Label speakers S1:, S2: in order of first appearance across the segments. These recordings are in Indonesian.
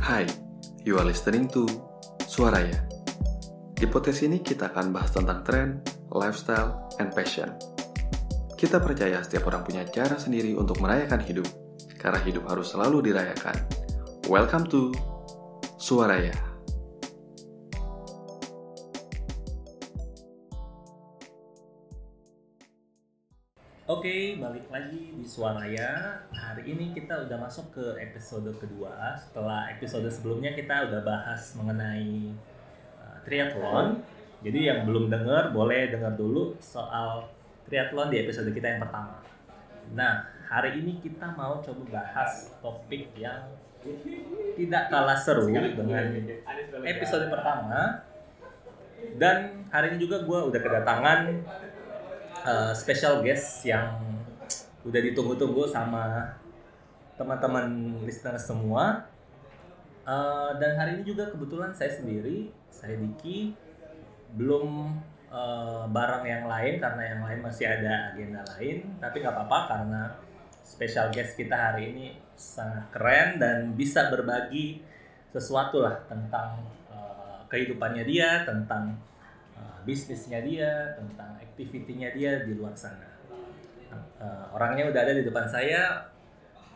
S1: Hai, you are listening to Suaraya. Di podcast ini kita akan bahas tentang tren, lifestyle, and passion. Kita percaya setiap orang punya cara sendiri untuk merayakan hidup, karena hidup harus selalu dirayakan. Welcome to Suaraya.
S2: Oke, balik lagi di Suaraya. Hari ini kita udah masuk ke episode kedua. Setelah episode sebelumnya kita udah bahas mengenai uh, triathlon. Jadi yang belum dengar boleh dengar dulu soal triathlon di episode kita yang pertama. Nah, hari ini kita mau coba bahas topik yang tidak kalah seru dengan episode pertama. Dan hari ini juga gue udah kedatangan eh, special guest yang udah ditunggu-tunggu sama teman-teman listener semua. Eh, dan hari ini juga kebetulan saya sendiri, saya Diki, belum eh, bareng yang lain karena yang lain masih ada agenda lain. Tapi nggak apa-apa karena special guest kita hari ini sangat keren dan bisa berbagi sesuatu lah tentang eh, kehidupannya dia, tentang uh, bisnisnya dia, tentang aktivitinya dia di luar sana. Uh, orangnya udah ada di depan saya.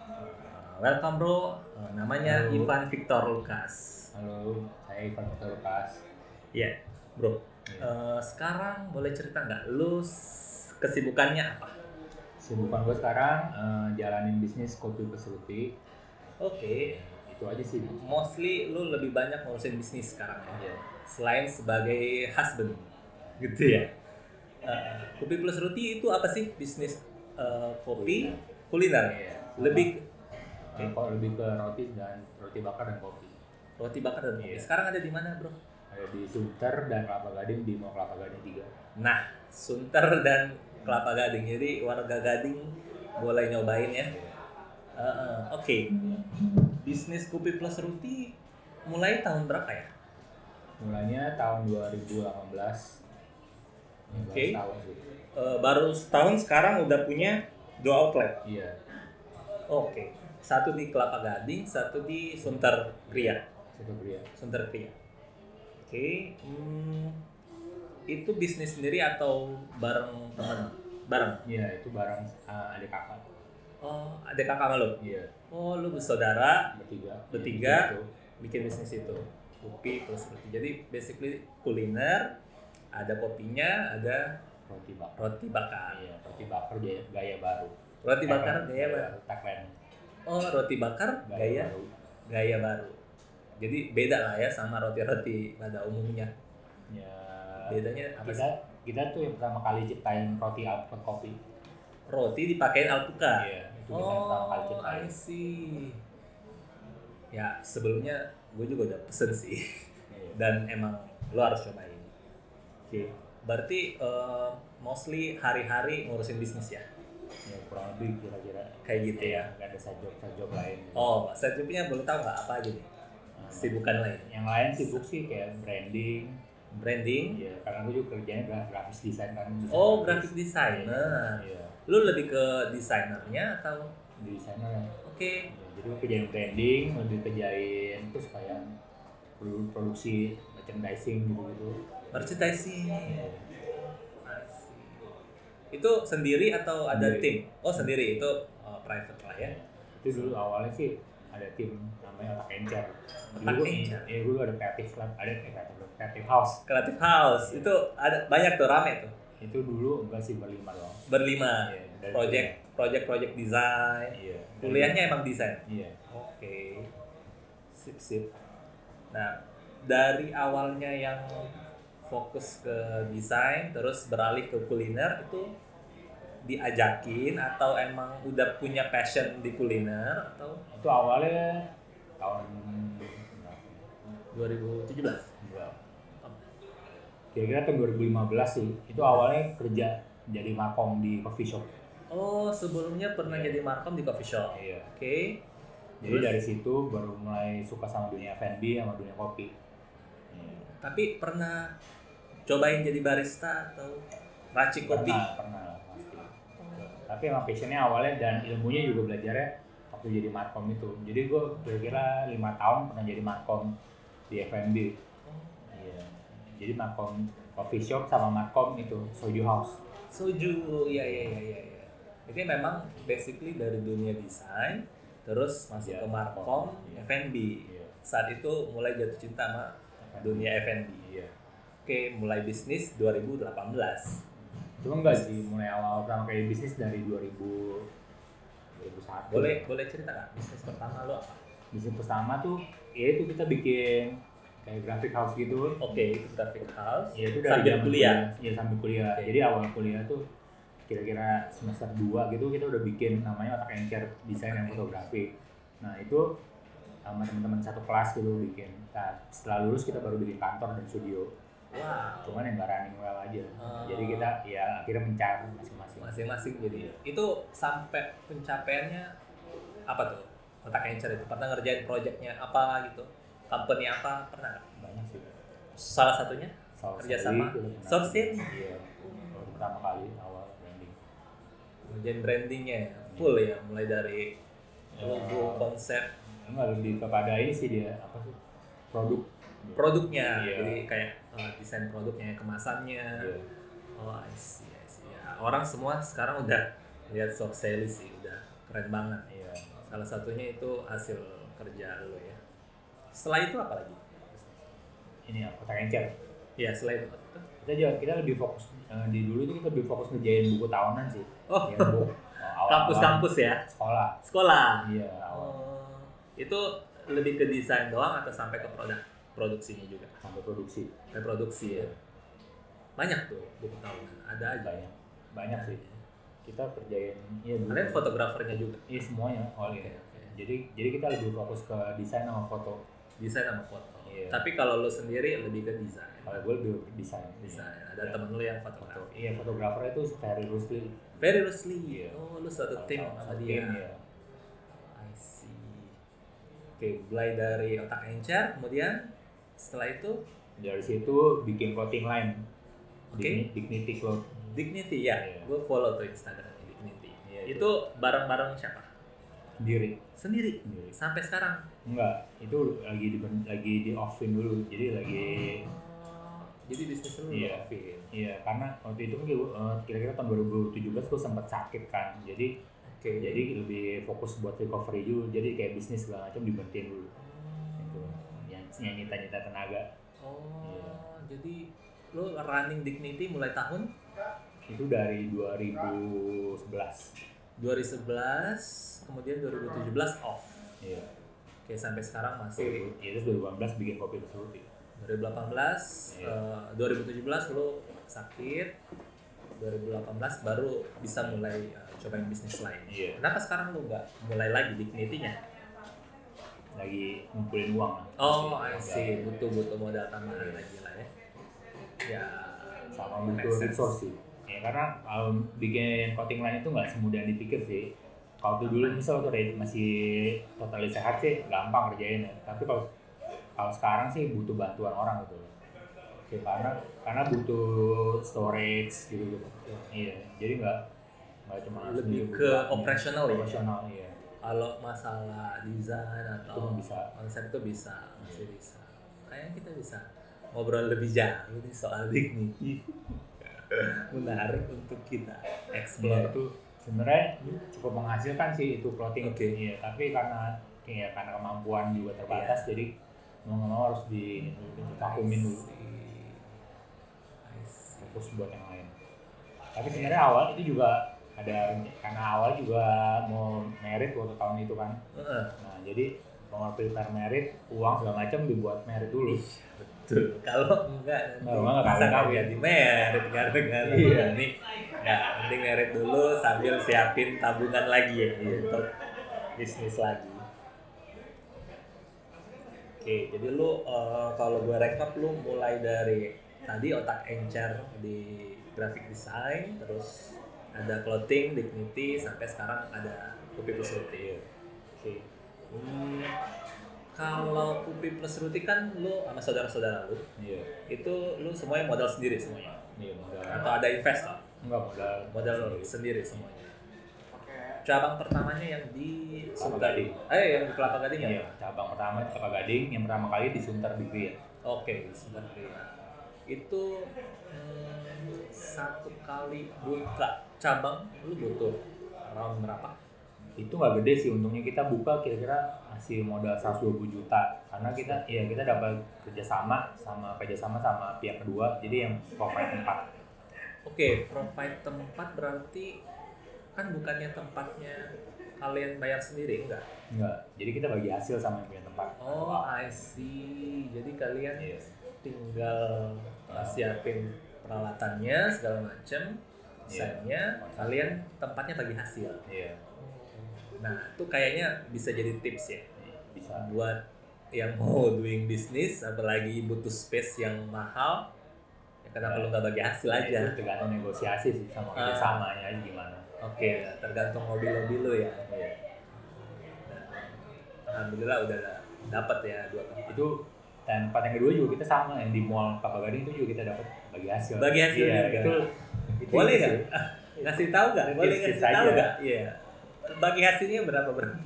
S2: Uh, welcome bro, Uh, namanya
S3: Halo.
S2: Ivan Victor Lukas.
S3: Halo, saya Ivan Victor Lukas. Iya.
S2: Iya, bro. Uh, sekarang boleh cerita nggak lu s- kesibukannya apa?
S3: Sibukan gue sekarang eh, jalanin bisnis kopi peseluti.
S2: Oke,
S3: Itu aja sih. Bu.
S2: mostly lu lebih banyak ngurusin bisnis sekarang ya. Selain sebagai husband, gitu ya. Uh, kopi plus Ruti itu apa sih bisnis uh, kopi kuliner?
S3: Iya.
S2: Lebih
S3: Eh, kok lebih ke roti dan roti bakar dan kopi.
S2: roti bakar dan kopi.
S3: Iya.
S2: Sekarang ada di mana, Bro?
S3: Ada di Sunter dan Kelapa Gading di Mall Kelapa Gading 3.
S2: Nah, Sunter dan Kelapa Gading. Jadi warga Gading boleh nyobain ya. Eh, eh, Oke. Bisnis kopi plus Ruti mulai tahun berapa ya?
S3: Mulanya tahun 2018. 15
S2: Oke.
S3: tahun sih.
S2: Eh, baru setahun sekarang udah punya dua outlet.
S3: Iya.
S2: Oke. Satu di Kelapa Gading, satu di Sunter Kriya.
S3: Satu pria.
S2: Sunter Kriya. Oke. hmm, itu bisnis sendiri atau bareng teman? Bareng.
S3: Iya, itu barang ada adik kakak.
S2: Oh, ada kakak sama lu?
S3: Iya,
S2: Oh, lu bersaudara
S3: bertiga.
S2: Bertiga.
S3: Iya, gitu.
S2: bikin bisnis itu. Kopi plus roti. Jadi basically kuliner, ada kopinya, ada
S3: Roti bakar.
S2: roti bakar.
S3: Iya, roti bakar gaya, gaya baru.
S2: Roti bakar gaya baru.
S3: baru. Tagline.
S2: Oh, roti bakar gaya
S3: baru.
S2: gaya baru. Jadi beda lah ya sama roti-roti pada umumnya.
S3: Ya,
S2: Bedanya apa
S3: kita
S2: sih?
S3: kita tuh yang pertama kali ciptain roti alpukat kopi.
S2: Roti dipakein alpukat.
S3: Iya, itu kita yang pertama kali
S2: Oh,
S3: ciptain.
S2: I see. Ya, sebelumnya gue juga udah pesen sih.
S3: Iya.
S2: dan emang lo harus cobain. Oke, berarti eh, mostly hari-hari ngurusin bisnis ya,
S3: Ya, kurang lebih kira-kira
S2: kayak gitu ya.
S3: nggak ada sajok sajok lain.
S2: Oh, selanjutnya boleh tahu nggak apa aja nih?
S3: Nah,
S2: Sibukan lain,
S3: yang lain sibuk sih kayak branding.
S2: branding.
S3: Iya, karena gue juga kerjanya gra- grafis desain kan. desain
S2: Oh, graphic designer.
S3: Iya,
S2: Lo lebih ke desainernya atau?
S3: desainer. ya.
S2: Oke,
S3: Iya, Jadi gue kerjain branding, lebih kerjain terus kayak produ- produksi merchandising gitu-gitu.
S2: merchandising.
S3: Iya.
S2: I see. Itu sendiri atau ada
S3: Sendiri.
S2: tim? Oh, sendiri itu eh, private lah ya.
S3: itu dulu awalnya sih ada tim namanya otak encer
S2: Otak
S3: dulu
S2: Encer?
S3: ya dulu ada kreatif lab ada eh, kreatif lab kreatif house
S2: Creative House itu ada banyak tuh rame tuh
S3: itu dulu enggak sih berlima doang
S2: berlima.
S3: Iya, dari-
S2: project project project desain
S3: iya dari-
S2: kuliahnya emang desain
S3: iya
S2: oke sip sip nah dari awalnya yang fokus ke desain terus beralih ke kuliner itu diajakin atau emang udah punya passion di kuliner atau
S3: itu awalnya tahun berapa?
S2: 2017
S3: Berapa? kira-kira tahun 2015 sih itu awalnya kerja jadi makom di coffee shop
S2: oh sebelumnya pernah jadi markom di coffee shop oke
S3: iya jadi
S2: Terus?
S3: dari situ baru mulai suka sama dunia F&B sama dunia kopi Iya.
S2: tapi pernah cobain jadi barista atau racik kopi
S3: pernah pernah lah, pasti tapi emang passionnya awalnya dan ilmunya juga belajarnya oke waktu jadi markom itu jadi gue kira-kira lima tahun pernah jadi markom di F&B Iya. jadi markom coffee shop sama markom itu soju house
S2: Soju, ya ya ya ya. ya. Jadi memang basically dari dunia desain, terus masuk ke
S3: Iya,
S2: markom,
S3: iya.
S2: F&B.
S3: Iya.
S2: Saat itu mulai jatuh cinta sama dunia F&B.
S3: iya
S2: Oke, mulai bisnis 2018.
S3: cuma nggak sih mulai awal pertama kayak bisnis dari 2000 2001
S2: Boleh boleh cerita nggak bisnis pertama lo apa?
S3: bisnis pertama tuh ya itu kita bikin kayak graphic house gitu
S2: Oke, itu graphic house.
S3: ya itu
S2: Sambil
S3: zaman
S2: kuliah?
S3: iya sambil kuliah
S2: Oke.
S3: jadi awal kuliah tuh kira-kira semester 2 gitu kita udah bikin namanya otak encer desain dan fotografi nah itu sama teman-teman satu kelas gitu bikin nah, setelah lulus kita baru bikin kantor dan studio
S2: Wow.
S3: cuman yang nggak running well aja
S2: Ah.
S3: jadi kita ya akhirnya mencari masing-masing
S2: Masing-masing jadi itu sampai pencapaiannya apa tuh? Otak encer itu pernah ngerjain projectnya apa gitu? Company apa pernah? nggak?
S3: banyak sih
S2: Salah satunya?
S3: Source
S2: Kerjasama?
S3: Sally, kita pernah-
S2: Sourcing?
S3: iya baru pertama kali awal branding
S2: Bagian brandingnya ya, full ya, mulai dari logo,
S3: Ya.
S2: konsep,
S3: enggak lebih kepada ini sih dia apa sih produk
S2: produknya,
S3: Iya.
S2: jadi kayak eh, desain produknya, kemasannya.
S3: Iya.
S2: Oh, I see, I see. Ya, orang semua sekarang udah lihat soft selling sih, udah keren banget.
S3: Iya.
S2: Salah satunya itu hasil kerja lo ya. Setelah itu apa lagi?
S3: Ini apa? Otak encer.
S2: Ya selain itu.
S3: Kita juga kita lebih fokus eh, di dulu tuh kita lebih fokus ngejain buku tahunan sih.
S2: Oh,
S3: Ya, bu. Awal-awal
S2: kampus-kampus ya,
S3: Sekolah.
S2: sekolah.
S3: Iya. Awal
S2: Oh, itu lebih ke desain doang atau sampai ke produk produksinya juga?
S3: sampai produksi
S2: reproduksi ya banyak tuh buku tahunan ada aja
S3: banyak banyak sih. Kita kerjain ya dulu.
S2: kalian fotografernya juga
S3: Iya semuanya all in. Jadi jadi kita lebih fokus ke desain sama foto.
S2: desain sama foto
S3: Iya.
S2: tapi kalau lo sendiri lebih ke desain
S3: Kalau gue lebih ke desain.
S2: desain
S3: Iya.
S2: ada
S3: Iya.
S2: temen lo yang
S3: Foto.
S2: fotografer
S3: Iya fotografer itu Ferry Rusli.
S2: very loosely
S3: Iya.
S2: oh lo satu tim sama
S3: Satu
S2: dia
S3: tim, iya.
S2: I see oke mulai dari otak encer kemudian setelah itu
S3: Dari situ bikin clothing line.
S2: Oke.
S3: Digni- Dignity Cloth.
S2: dignity ya
S3: Iya.
S2: gue follow tuh instagramnya dignity
S3: Iya, itu.
S2: itu bareng-bareng siapa
S3: Sendiri.
S2: sendiri
S3: Sendiri.
S2: sampai sekarang
S3: Enggak, itu lagi di lagi di offin dulu. Jadi lagi
S2: jadi bisnis lo
S3: Iya.
S2: Fit.
S3: iya karena waktu itu kan gue, eh, kira-kira tahun 2017 gue sempat sakit kan. Jadi
S2: oke
S3: jadi lebih fokus buat recovery dulu. Jadi kayak bisnis segala macam diberhentiin dulu. Itu yang yang nyita-nyita tenaga.
S2: Oh, jadi lu running Dignity mulai tahun
S3: Itu dari 2011.
S2: 2011, kemudian 2017 off.
S3: Iya.
S2: Oke, sampai sekarang masih
S3: Iya, terus 2018 bikin kopi tersebut.
S2: 2018,
S3: Iya.
S2: eh, 2017 lu sakit, 2018 baru bisa mulai eh, cobain bisnis lain.
S3: Iya.
S2: Kenapa sekarang lu nggak mulai lagi Dignity-nya?
S3: Lagi ngumpulin uang. lah. Iya.
S2: Oh, I
S3: Pasti.
S2: see. Butuh-butuh modal tambahan lagi lah ya. Ya,
S3: sama
S2: make
S3: butuh
S2: sense.
S3: resource sih ya karena um, bikin coding line itu nggak semudah yang dipikir sih kalau tuh dulu misal tuh dari- masih totally sehat sih gampang kerjain ya tapi kalau kalau sekarang sih butuh bantuan orang gitu Oke, karena karena butuh storage gitu gitu iya jadi nggak nggak cuma harus
S2: Lebih ke
S3: beli bukuan, iya.
S2: operational ya?
S3: operational iya
S2: kalau masalah desain
S3: itu
S2: atau
S3: bisa
S2: konsep tuh bisa masih bisa kayaknya kita bisa ngobrol lebih jauh nih soal dignity menarik untuk kita
S3: Iya,
S2: explore
S3: itu sebenarnya cukup menghasilkan sih itu clothing
S2: Oke.
S3: Iya, tapi karena ya karena kemampuan juga terbatas jadi mau nggak mau harus di vakuumin dulu
S2: I see.
S3: fokus buat yang lain tapi sebenarnya awal itu juga ada karena awal juga mau merit waktu tahun itu kan
S2: Heeh,
S3: nah jadi mau prepare merit uang segala macam dibuat merit dulu
S2: Iya. betul kalau enggak
S3: Kalau enggak, nggak
S2: masa
S3: kawin.
S2: nggak jadi merit gara-gara
S3: Iya.
S2: ini nggak penting merit dulu sambil siapin tabungan lagi ya untuk bisnis lagi Oke, jadi lu eh, kalau gue rekap lu mulai dari tadi otak encer di graphic design, terus ada clothing, dignity, sampai sekarang ada Pupi Plus
S3: Iya.
S2: Ruti. Oke. Hmm, kalau Pupi Plus Ruti kan lu sama saudara-saudara lu,
S3: iya
S2: itu lu semuanya modal sendiri semuanya.
S3: iya modal
S2: Atau ada investor,
S3: enggak modal
S2: modal sendiri semuanya. cabang pertamanya yang di
S3: Kelapa
S2: Sunter.
S3: Gading.
S2: Eh, yang di Kelapa Gading ya?
S3: Iya, cabang pertama di Kelapa Gading, yang pertama kali di Sunter Bibir.
S2: Oke, sebenarnya itu hmm, satu kali buka cabang lu butuh around berapa?
S3: Itu nggak gede sih, untungnya kita buka kira-kira masih modal 120 juta. Karena kita, ya kita dapat kerjasama sama kerjasama sama pihak kedua, jadi yang provide tempat.
S2: Oke, provide tempat berarti kan bukannya tempatnya kalian bayar sendiri enggak?
S3: Enggak, jadi kita bagi hasil sama yang punya tempat.
S2: Oh, I see. Jadi kalian
S3: Yes.
S2: tinggal uh, siapin peralatannya segala macam, desainnya, kalian tempatnya bagi hasil.
S3: Iya,
S2: Nah, itu kayaknya bisa jadi tips ya.
S3: bisa.
S2: buat yang mau doing bisnis apalagi butuh space yang mahal ya kenapa lu nggak bagi hasil aja
S3: Itu tergantung negosiasi sih
S2: Ah.
S3: sama kerjasamanya aja gimana.
S2: oke tergantung hobi hobi lu ya Nah,
S3: Iya.
S2: alhamdulillah udah dapat ya dua tempat
S3: itu dan tempat yang kedua juga kita sama yang di mall Kelapa Gading itu juga kita dapat bagi hasil
S2: Bagi hasil
S3: iya,
S2: juga.
S3: itu, itu
S2: boleh
S3: itu
S2: nggak
S3: sih.
S2: ngasih tahu nggak boleh
S3: Tips-tips
S2: ngasih tahu
S3: aja.
S2: nggak iya bagi hasilnya berapa berapa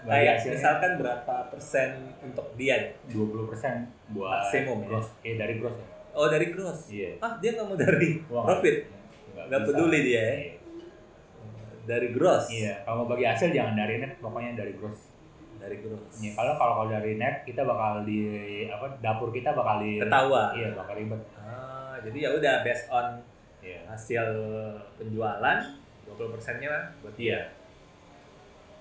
S3: bagi
S2: kayak
S3: hasilnya
S2: misalkan berapa persen untuk dia ya?
S3: 20 persen buat
S2: Maksimum ya?
S3: gross eh dari gross ya
S2: oh dari gross
S3: iya
S2: ah dia nggak mau dari
S3: Wah,
S2: profit
S3: nggak
S2: nggak
S3: bisa.
S2: peduli dia ya
S3: Iya.
S2: dari gross
S3: iya kalau mau bagi hasil jangan dari net pokoknya dari gross
S2: dari gross
S3: ya, kalau kalau kalau dari net kita bakal di apa dapur kita bakal di
S2: ketawa
S3: iya bakal ribet
S2: ah, jadi ya udah based on
S3: iya
S2: hasil penjualan 20 persennya buat dia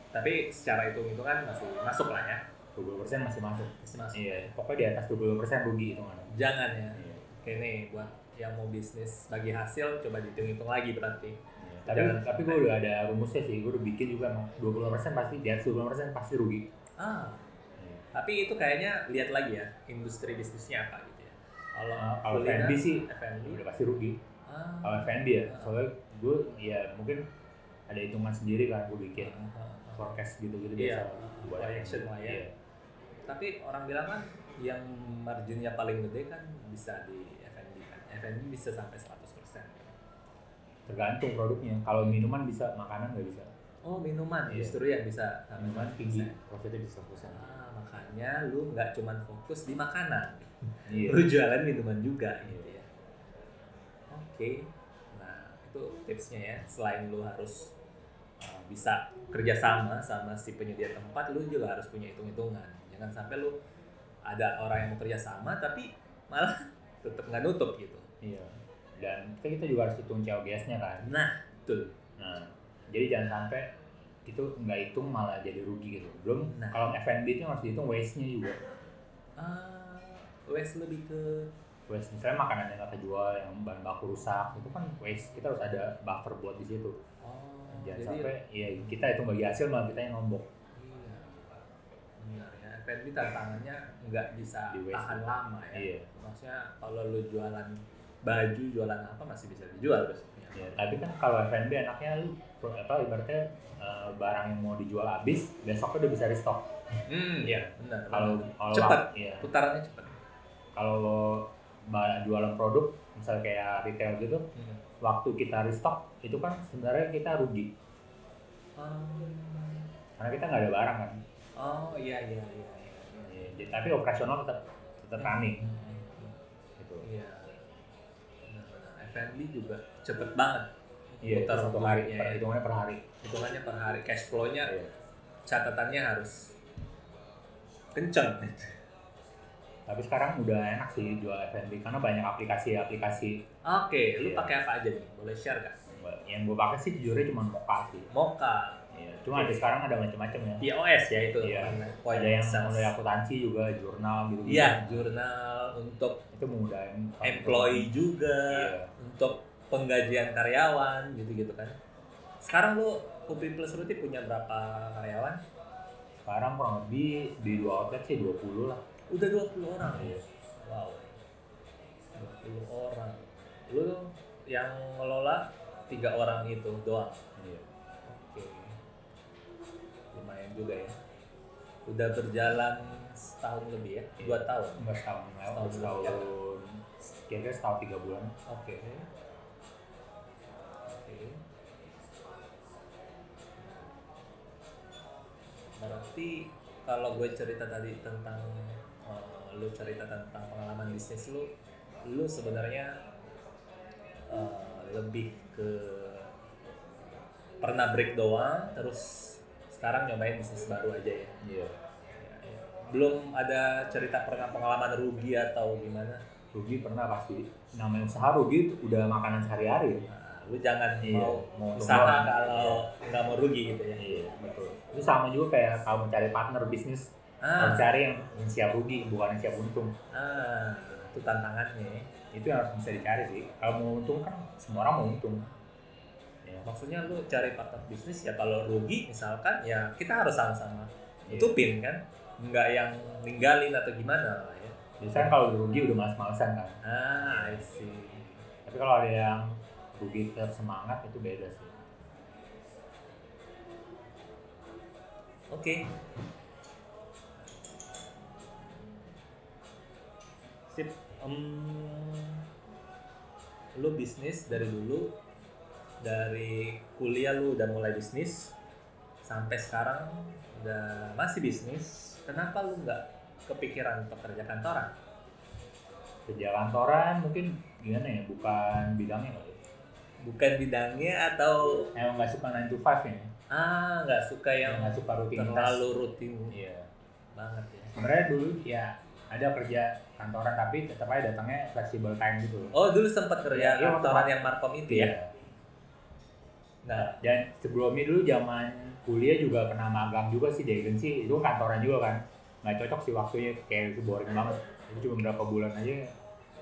S2: tapi secara hitung-hitungan masih masuk lah ya
S3: 20 persen masih masuk
S2: masih masuk
S3: iya pokoknya di atas 20 persen rugi itu mana
S2: jangan ya
S3: Iya.
S2: oke nih buat yang mau bisnis bagi hasil coba dihitung-hitung lagi berarti
S3: Iya, tapi
S2: Jangan.
S3: tapi gue udah ada rumusnya sih gue udah bikin juga emang 20% pasti di atas 20% pasti rugi
S2: ah tapi itu kayaknya lihat lagi ya industri bisnisnya apa gitu ya kalau
S3: Nah, kalau
S2: kuliner,
S3: F&B sih
S2: F&B
S3: udah pasti rugi kalau
S2: ah.
S3: F&B ya soalnya gue ya mungkin ada hitungan sendiri kan gue bikin
S2: Ah,
S3: forecast gitu gitu
S2: Iya,
S3: biasa
S2: projection lah ya.
S3: Iya.
S2: tapi orang bilang kan yang marginnya paling gede kan bisa di F&B kan F&B bisa sampai 100%
S3: tergantung produknya kalau minuman bisa makanan nggak bisa
S2: Oh minuman
S3: Iya.
S2: justru yang bisa nah,
S3: minuman tinggi
S2: 100%.
S3: profitnya bisa besar
S2: Ah, makanya lu nggak cuman fokus di makanan,
S3: iya
S2: lu jualan minuman juga gitu ya. Oke, nah itu tipsnya ya. Selain lu harus uh, bisa kerjasama sama si penyedia tempat, lu juga harus punya hitung-hitungan. Jangan sampai lu ada orang yang mau kerjasama tapi malah tetap nggak nutup gitu.
S3: iya dan kan kita juga harus hitung COGS-nya kan
S2: Nah, betul.
S3: Nah, jadi jangan sampai itu nggak hitung malah jadi rugi gitu. Belum
S2: Nah.
S3: kalau F&B itu harus dihitung waste-nya juga.
S2: Ah, wes lebih ke
S3: Waste misalnya makanan yang nggak terjual, yang bahan baku rusak itu kan waste. Kita harus ada buffer buat di situ.
S2: oh,
S3: Jangan sampai ya kita hitung bagi hasil malah kita yang nombok.
S2: Iya. Benar ya. F&B tantangannya nggak bisa
S3: Di waste
S2: tahan lama ya.
S3: Iya.
S2: Maksudnya kalau lu jualan baju, jualan apa masih bisa dijual besoknya.
S3: Ya, tapi kan kalau F&B enaknya lu apa ibaratnya eh, barang yang mau dijual habis besoknya udah bisa restock.
S2: Hmm, iya, benar.
S3: Kalau
S2: benar.
S3: kalau-
S2: Cepet.
S3: Iya.
S2: putarannya cepat.
S3: Kalau ba- jualan produk misalnya kayak retail gitu waktu kita restock itu kan sebenarnya kita rugi karena kita nggak ada barang kan
S2: oh iya iya iya. iya.
S3: Ya, jadi- tapi operasional tetap tetap running gitu
S2: Iya. Benar-benar. F&B juga cepet banget.
S3: iya itu
S2: Putar
S3: satu hari
S2: duitnya
S3: per,
S2: ya.
S3: hitungannya per hari
S2: hitungannya per hari cash flow-nya
S3: Iya.
S2: catatannya harus kenceng.
S3: tapi sekarang udah enak sih jual F&B karena banyak aplikasi-aplikasi
S2: Oke, lu
S3: Iya.
S2: pakai apa aja nih? Boleh share gak?
S3: yang gue pakai sih jujurnya cuma Moka sih
S2: Moka,
S3: Iya. cuma ada sekarang ada macam-macam ya
S2: POS ya itu
S3: Iya.
S2: namanya, point
S3: ada yang
S2: of sales.
S3: mulai akuntansi juga jurnal gitu
S2: Iya, jurnal untuk
S3: itu mudahin gitu.
S2: employee juga,
S3: Iya.
S2: untuk penggajian karyawan gitu-gitu kan. Sekarang lu Kopi Plus Ruti punya berapa karyawan?
S3: sekarang kurang lebih di dua outlet sih 20 lah
S2: Udah 20 orang.
S3: Iya.
S2: Wow. 20 orang. Lu yang ngelola tiga orang itu doang.
S3: Iya.
S2: Oke. Lumayan juga ya. Udah berjalan setahun lebih ya, dua tahun.
S3: Enggak setahun lewat,
S2: Setahun ya.
S3: setahun,
S2: lebih,
S3: kira-kira setahun tiga bulan.
S2: Oke. Oke. berarti kalau gue cerita tadi tentang eh, lu cerita tentang pengalaman bisnis lu lu sebenarnya eh, lebih ke pernah break doang terus sekarang nyobain bisnis baru aja ya
S3: Iya.
S2: belum ada cerita pernah pengalaman rugi atau gimana
S3: Rugi pernah pasti. Namanya usaha rugi itu udah makanan sehari-hari.
S2: nah, lu jangan
S3: Iya,
S2: mau
S3: mau
S2: usaha
S3: doang.
S2: kalau nggak mau rugi gitu ya
S3: Iya, betul. Itu sama juga kayak kalau mencari partner bisnis,
S2: ah,
S3: harus cari yang, yang siap rugi, bukan yang siap untung.
S2: ah itu tantangannya
S3: Itu yang harus bisa dicari sih. Kalau mau untung kan semua orang mau untung. Ya,
S2: maksudnya lu cari partner bisnis ya kalau rugi misalkan ya kita harus sama-sama
S3: Iya.
S2: tutupin kan nggak yang ninggalin atau gimana lah ya
S3: Biasanya kalau rugi udah males-malesan kan.
S2: ah I see
S3: Tapi kalau ada yang rugi tetap semangat itu beda sih.
S2: oke sip Em, lu bisnis dari dulu dari kuliah lu udah mulai bisnis sampai sekarang udah masih bisnis kenapa lu nggak kepikiran pekerja kantoran
S3: Kerja kantoran mungkin gimana ya, bukan bidangnya kali. ya.
S2: bukan bidangnya atau
S3: Emang nggak suka 9 to 5 ya,
S2: ah nggak suka yang
S3: yang nggak suka rutinitas.
S2: terlalu rutin
S3: Iya.
S2: banget ya
S3: Sebenarnya dulu ya ada kerja kantoran tapi tetap aja datangnya flexible time gitu. loh.
S2: oh dulu sempat kerja
S3: Iya,
S2: kantoran
S3: waktu-
S2: yang markom itu ya nah
S3: Dan sebelumnya dulu zaman kuliah juga pernah magang juga sih di agensi, itu kantoran juga kan. Nggak cocok sih waktunya, kayak itu boring banget. Itu cuma berapa bulan aja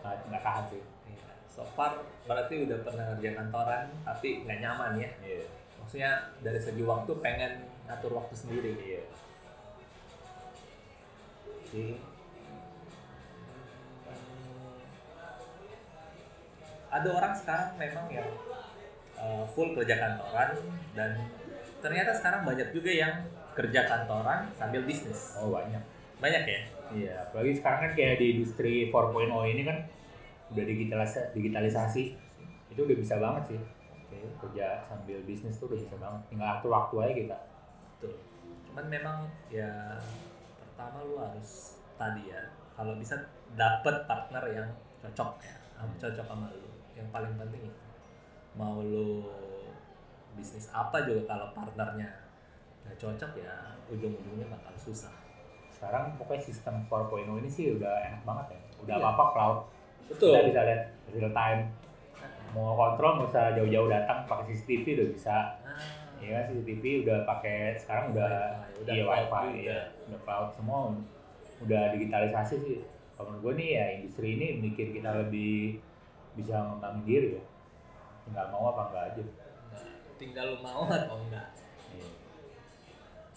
S3: nggak- nggak tahan sih.
S2: iya. so far berarti udah pernah kerja kantoran tapi nggak nyaman ya
S3: Iya.
S2: maksudnya dari segi waktu pengen ngatur waktu sendiri
S3: Iya.
S2: Oke. Ada orang sekarang memang yang uh, full kerja kantoran dan ternyata sekarang banyak juga yang kerja kantoran sambil bisnis.
S3: Oh banyak.
S2: Banyak ya?
S3: Iya, apalagi sekarang kan kayak di industri 4.0 ini kan udah digitalis- digitalisasi itu udah bisa banget sih
S2: Oke,
S3: kerja sambil bisnis tuh udah bisa banget tinggal atur waktu aja kita
S2: betul. Cuman memang ya pertama lu harus tadi ya kalau bisa dapet partner yang cocok ya, yang
S3: Hmm.
S2: cocok sama lu. Yang paling penting itu mau lu bisnis apa juga kalau partnernya nggak cocok ya ujung-ujungnya bakal susah.
S3: sekarang pokoknya sistem 4.0 ini sih udah enak banget ya udah
S2: Iya.
S3: apa-apa cloud kita bisa lihat real time mau kontrol nggak usah jauh-jauh datang pakai CCTV udah bisa
S2: Ah,
S3: ya kan CCTV udah pakai sekarang udah
S2: Wifi, udah
S3: iya
S2: cloud
S3: wifi
S2: juga.
S3: iya udah cloud semua udah digitalisasi sih kalau menurut gue nih ya industri ini bikin kita lebih bisa ngembangin diri ya tinggal mau apa enggak aja
S2: Nah, tinggal lu mau atau enggak.
S3: Iya.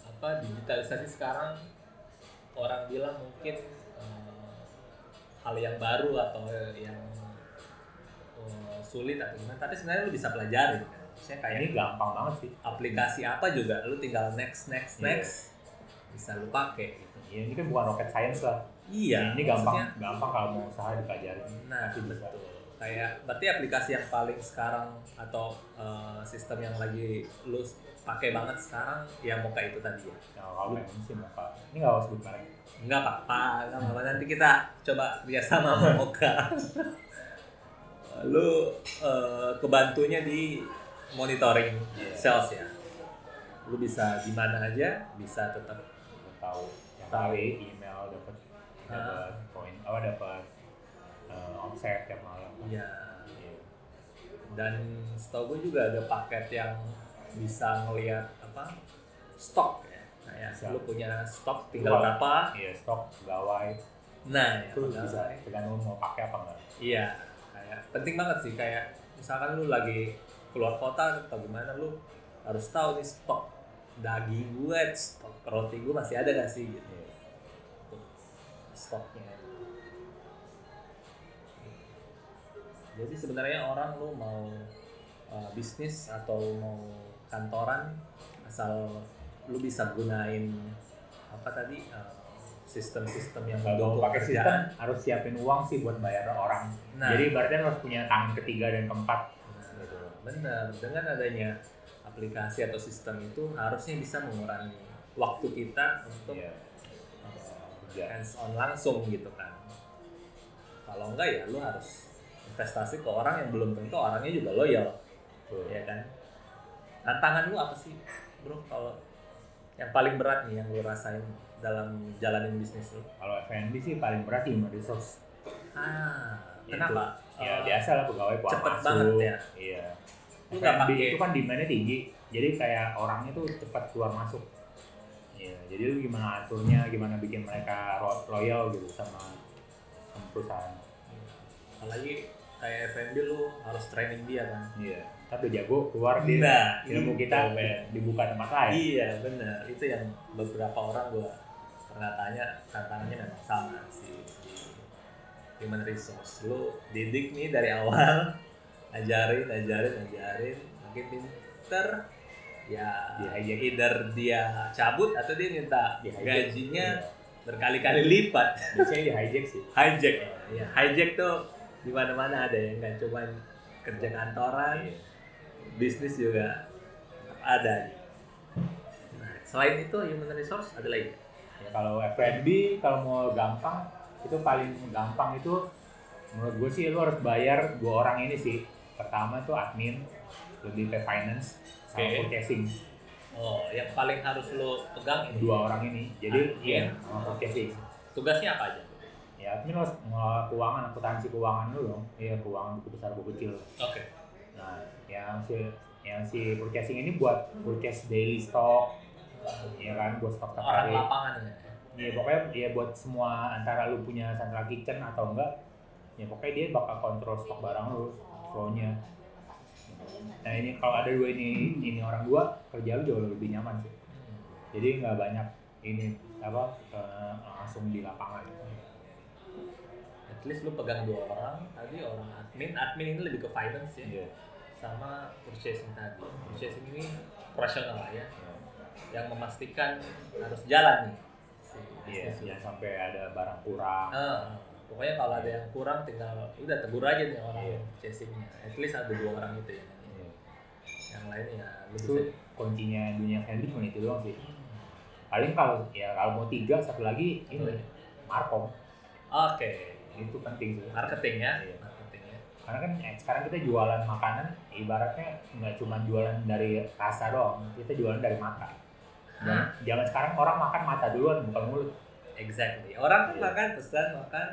S2: apa digitalisasi sekarang orang bilang mungkin eh, hal yang baru atau yang eh, sulit atau gimana tapi sebenarnya lu bisa pelajarin kan saya kayak
S3: ini gampang banget sih
S2: aplikasi apa juga lu tinggal next next
S3: Iya.
S2: next bisa lu pakai gitu
S3: ya, ini kan bukan rocket science lah
S2: iya
S3: ini gampang
S2: maksudnya-
S3: gampang kalau mau usaha dipelajarin
S2: nah
S3: Pasti bisa.
S2: betul kayak berarti aplikasi yang paling sekarang atau eh, sistem yang lagi lu pakai banget sekarang yang mau kayak itu tadi ya
S3: nah, kalau pengen sih mau Pak. ini nggak harus bukan
S2: Enggak apa-apa, enggak apa-apa. Nanti kita coba kerjasama sama Moka. Lu eh, kebantunya di monitoring sales ya. Lu bisa di mana aja, bisa tetap
S3: tahu yang kali email dapat dapat poin apa dapat eh, offset tiap malam
S2: ya.
S3: Iya.
S2: Dan setahu gue juga ada paket yang bisa ngelihat apa stok ya. Kayak
S3: Bisa.
S2: lu punya stok tinggal
S3: Luar.
S2: berapa.
S3: Iya, stok pegawai
S2: Nah,
S3: itu
S2: ya,
S3: bisa tergantung mau pakai apa enggak.
S2: Iya, kayak penting banget sih kayak misalkan lu lagi keluar kota atau gimana lu harus tahu nih stok daging gue, stok roti gue masih ada gak sih gitu
S3: Iya.
S2: stoknya. Jadi sebenarnya orang lu mau uh, bisnis atau mau kantoran asal lu bisa gunain apa tadi uh, sistem-sistem yang
S3: Kalau
S2: mendukung
S3: mau pakai sistem
S2: kerjaan.
S3: harus siapin uang sih buat bayar orang.
S2: Nah.
S3: Jadi ibaratnya harus punya tangan ketiga dan keempat.
S2: Nah, Benar, dengan adanya aplikasi atau sistem itu harusnya bisa mengurangi waktu kita untuk
S3: Iya. Kerja.
S2: hands on langsung gitu kan kalau enggak ya lo harus investasi ke orang yang belum tentu orangnya juga loyal
S3: Betul.
S2: ya kan tantangan lu apa sih bro kalau yang paling berat nih yang lu rasain dalam jalanin bisnis lu
S3: Kalau F&B sih paling berat di human resource.
S2: ah
S3: Itu.
S2: kenapa
S3: Ya
S2: Eh,
S3: biasa lah pegawai pulang
S2: cepet
S3: masuk.
S2: banget ya.
S3: Iya.
S2: Lu nggak
S3: F&B
S2: pakai-
S3: itu kan demandnya tinggi, jadi kayak orangnya tuh cepat keluar masuk. Iya. Jadi lu gimana aturnya, gimana bikin mereka ro- loyal gitu sama, sama perusahaan.
S2: apalagi kayak F&B lu harus training dia kan
S3: Iya. Tapi jago keluar di
S2: Nah,
S3: ilmu
S2: gitu,
S3: kita
S2: Ben.
S3: dibuka tempat lain.
S2: iya benar itu yang beberapa orang gua pernah tanya tantangannya memang sama sih di human resource lu didik nih dari awal ajarin ajarin ajarin makin pinter ya
S3: Di hijack.
S2: either dia cabut atau dia minta
S3: Di hijack.
S2: gajinya berkali-kali lipat
S3: Biasanya di hijack sih.
S2: hijack ya hijack tuh di mana-mana ada ya nggak cuma kerja kantoran
S3: Iya.
S2: bisnis juga ada nah, selain itu human resource ada lagi
S3: Ya, kalau F&B kalau mau gampang itu paling gampang itu menurut gue sih lu harus bayar dua orang ini sih. Pertama tuh admin, lebih ke finance sama
S2: Oke.
S3: purchasing.
S2: oh yang paling harus lo pegang ini
S3: Dua orang ini. Jadi
S2: Admin.
S3: iya, sama purchasing.
S2: tugasnya apa aja
S3: Ya, admin harus ngelola keuangan, akuntansi keuangan dulu dong. Iya, keuangan buku besar buku kecil.
S2: oke
S3: Nah, yang si yang si purchasing ini buat purchase daily stock, ya kan, buat stok stok
S2: orang lapangan ya
S3: ya pokoknya ya buat semua antara lu punya central kitchen atau enggak ya pokoknya dia bakal kontrol stok barang lu flow-nya nah ini kalau ada dua ini ini orang dua kerja lu jauh lebih nyaman sih
S2: Hmm,
S3: jadi nggak banyak ini apa eh, langsung di lapangan
S2: at least lo pegang dua orang tadi orang admin admin ini lebih ke finance ya
S3: iya
S2: sama purchasing tadi purchasing ini operasional lah ya yang memastikan harus jalan nih si
S3: iya
S2: bisnis
S3: jangan sampai ada barang kurang
S2: Ah, pokoknya kalau ada yang kurang tinggal udah tegur aja nih orang
S3: Iya.
S2: chasingnya at least ada dua orang itu ya
S3: Iya.
S2: yang lain ya lu
S3: itu
S2: bisa
S3: kuncinya dunia handling cuma itu doang sih paling kalau ya kalau mau tiga satu lagi ini markom
S2: oke
S3: itu penting sih
S2: marketing ya
S3: Iya.
S2: marketing ya
S3: karena kan eh, sekarang kita jualan makanan ibaratnya nggak cuma jualan dari rasa doang kita jualan dari mata
S2: Hah?
S3: dan zaman sekarang orang makan mata duluan bukan mulut
S2: exactly orang kan
S3: Iya.
S2: makan pesan makan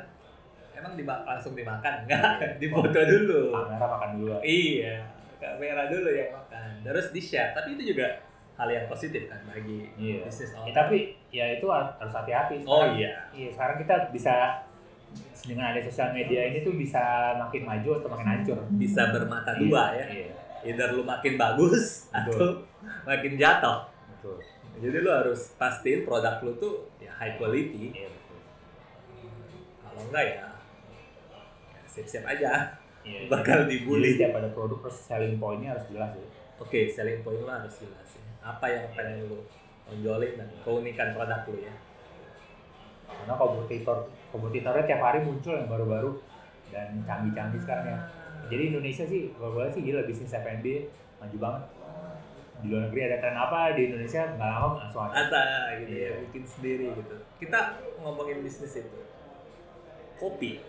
S2: emang dima- langsung dimakan enggak dipoto dulu
S3: kamera makan duluan
S2: iya kamera dulu yang makan terus di share tapi itu juga hal yang positif kan bagi
S3: Iya.
S2: bisnis
S3: Ya,
S2: orang
S3: tapi ya itu har- harus hati-hati
S2: oh
S3: Sekarang-
S2: iya
S3: iya sekarang kita bisa dengan ada sosial media ini tuh bisa makin maju atau makin hancur
S2: bisa bermata dua ya
S3: iya
S2: either lu makin bagus atau
S3: Betul.
S2: makin jatuh
S3: betul
S2: jadi lu harus pastiin produk lu tuh ya high quality
S3: iya betul
S2: kalau enggak ya ya siap-siap aja
S3: iya iya.
S2: bakal
S3: Jadi
S2: dibully
S3: setiap ada produk terus selling pointnya harus jelas ya
S2: oke selling point lu harus jelasin apa yang pengen lu tonjolin dan keunikan produk lu ya
S3: karena kompetitor kompetitornya tiap hari muncul yang baru-baru dan canggih-canggih sekarang ya jadi Indonesia sih gue boleh sih gila bisnis F&B maju banget di luar negeri ada tren apa di Indonesia nggak lama langsung ada
S2: Ata gitu ya
S3: Iya.
S2: bikin sendiri gitu kita ngomongin bisnis itu kopi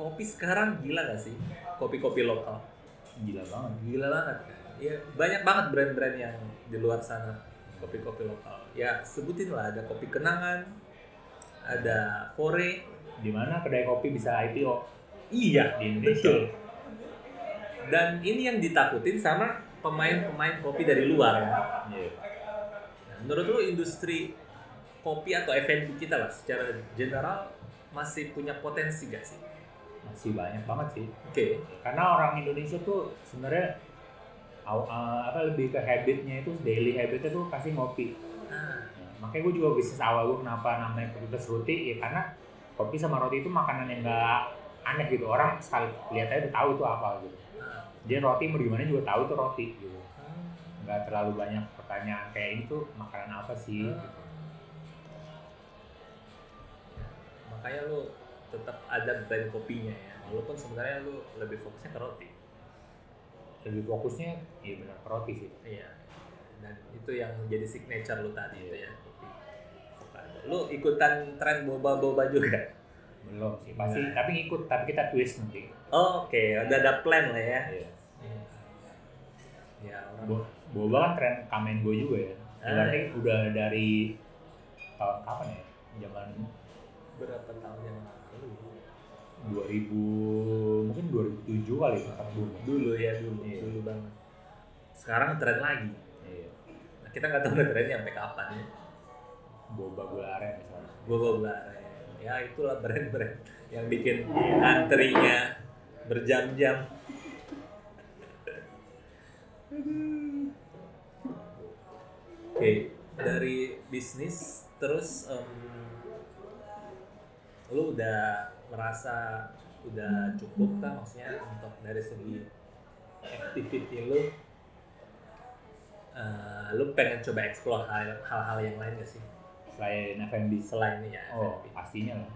S2: kopi sekarang gila gak sih kopi-kopi lokal
S3: gila banget
S2: gila banget kan ya banyak banget brand-brand yang di luar sana kopi-kopi lokal ya sebutin lah ada kopi kenangan ada fore
S3: di mana kedai kopi bisa IPO
S2: iya
S3: di Indonesia
S2: betul dan ini yang ditakutin sama pemain-pemain kopi dari luar ya.
S3: Iya.
S2: Nah, menurut lu industri kopi atau F&B kita lah secara general masih punya potensi gak sih
S3: masih banyak banget sih
S2: oke
S3: karena orang Indonesia tuh sebenarnya aw- eh, apa lebih ke habitnya itu daily habitnya tuh pasti ngopi
S2: nah,
S3: Ya, makanya gue juga bisnis awal gue kenapa namanya kopi plus roti ya karena kopi sama roti itu makanan yang gak aneh gitu orang sekali lihat aja udah tahu itu apa gitu
S2: nah.
S3: dia roti mau gimana juga tahu itu roti gitu nggak terlalu banyak pertanyaan kayak ini tuh makanan apa sih
S2: Hmm. Ah.
S3: gitu.
S2: makanya lu tetap ada brand kopinya ya walaupun sebenarnya lu lebih fokusnya ke roti
S3: lebih fokusnya ya benar ke iya roti sih
S2: iya dan itu yang jadi signature lu tadi itu ya kopi avocado. Lu ikutan tren boba-boba juga.
S3: belum sih pasti tapi ngikut tapi kita twist nanti
S2: Oke, udah ada plan lah ya.
S3: Iya.
S2: Ya, orang
S3: Bo- boba kan tren kamen gue juga ya
S2: Ah,
S3: berarti udah dari tahun kapan ya zaman
S2: berapa tahun yang lalu?
S3: 2000 mungkin 2007 kali ya kan boba
S2: Dulu ya dulu,
S3: Iya.
S2: dulu banget. Sekarang tren lagi.
S3: iya.
S2: Nah, kita nggak tahu udah trennya sampai kapan ya.
S3: boba gula aren misalnya
S2: Boba Blaren. Ya itulah brand-brand yang bikin antrinya berjam-jam. Aduh. Oke, dari bisnis terus em, lu udah merasa udah cukup kah maksudnya untuk dari segi activity lu Eh, lu pengen coba explore hal- hal-hal yang lain gak sih
S3: selain F&B
S2: selain ini ya
S3: oh
S2: F&B.
S3: pastinya lah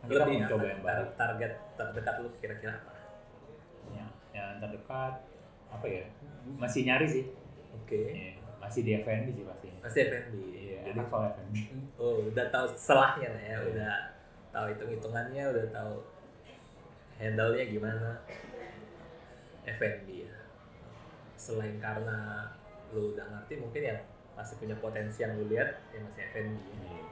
S3: Kan
S2: lebih
S3: kita
S2: ya,
S3: mau
S2: apa?
S3: coba yang baru
S2: Tar- target terdekat lu kira-kira apa
S3: yang, yang terdekat apa ya masih nyari sih
S2: oke
S3: Iya, masih di F&B sih pasti
S2: pasti F&B
S3: iya
S2: jadi
S3: enak soal F&B
S2: oh udah tahu selahnya lah ya udah tahu hitung hitungannya udah tahu handle nya gimana F&B ya selain karena lu udah ngerti mungkin ya masih punya potensi yang lu lihat ya masih F&B ya.
S3: Iya.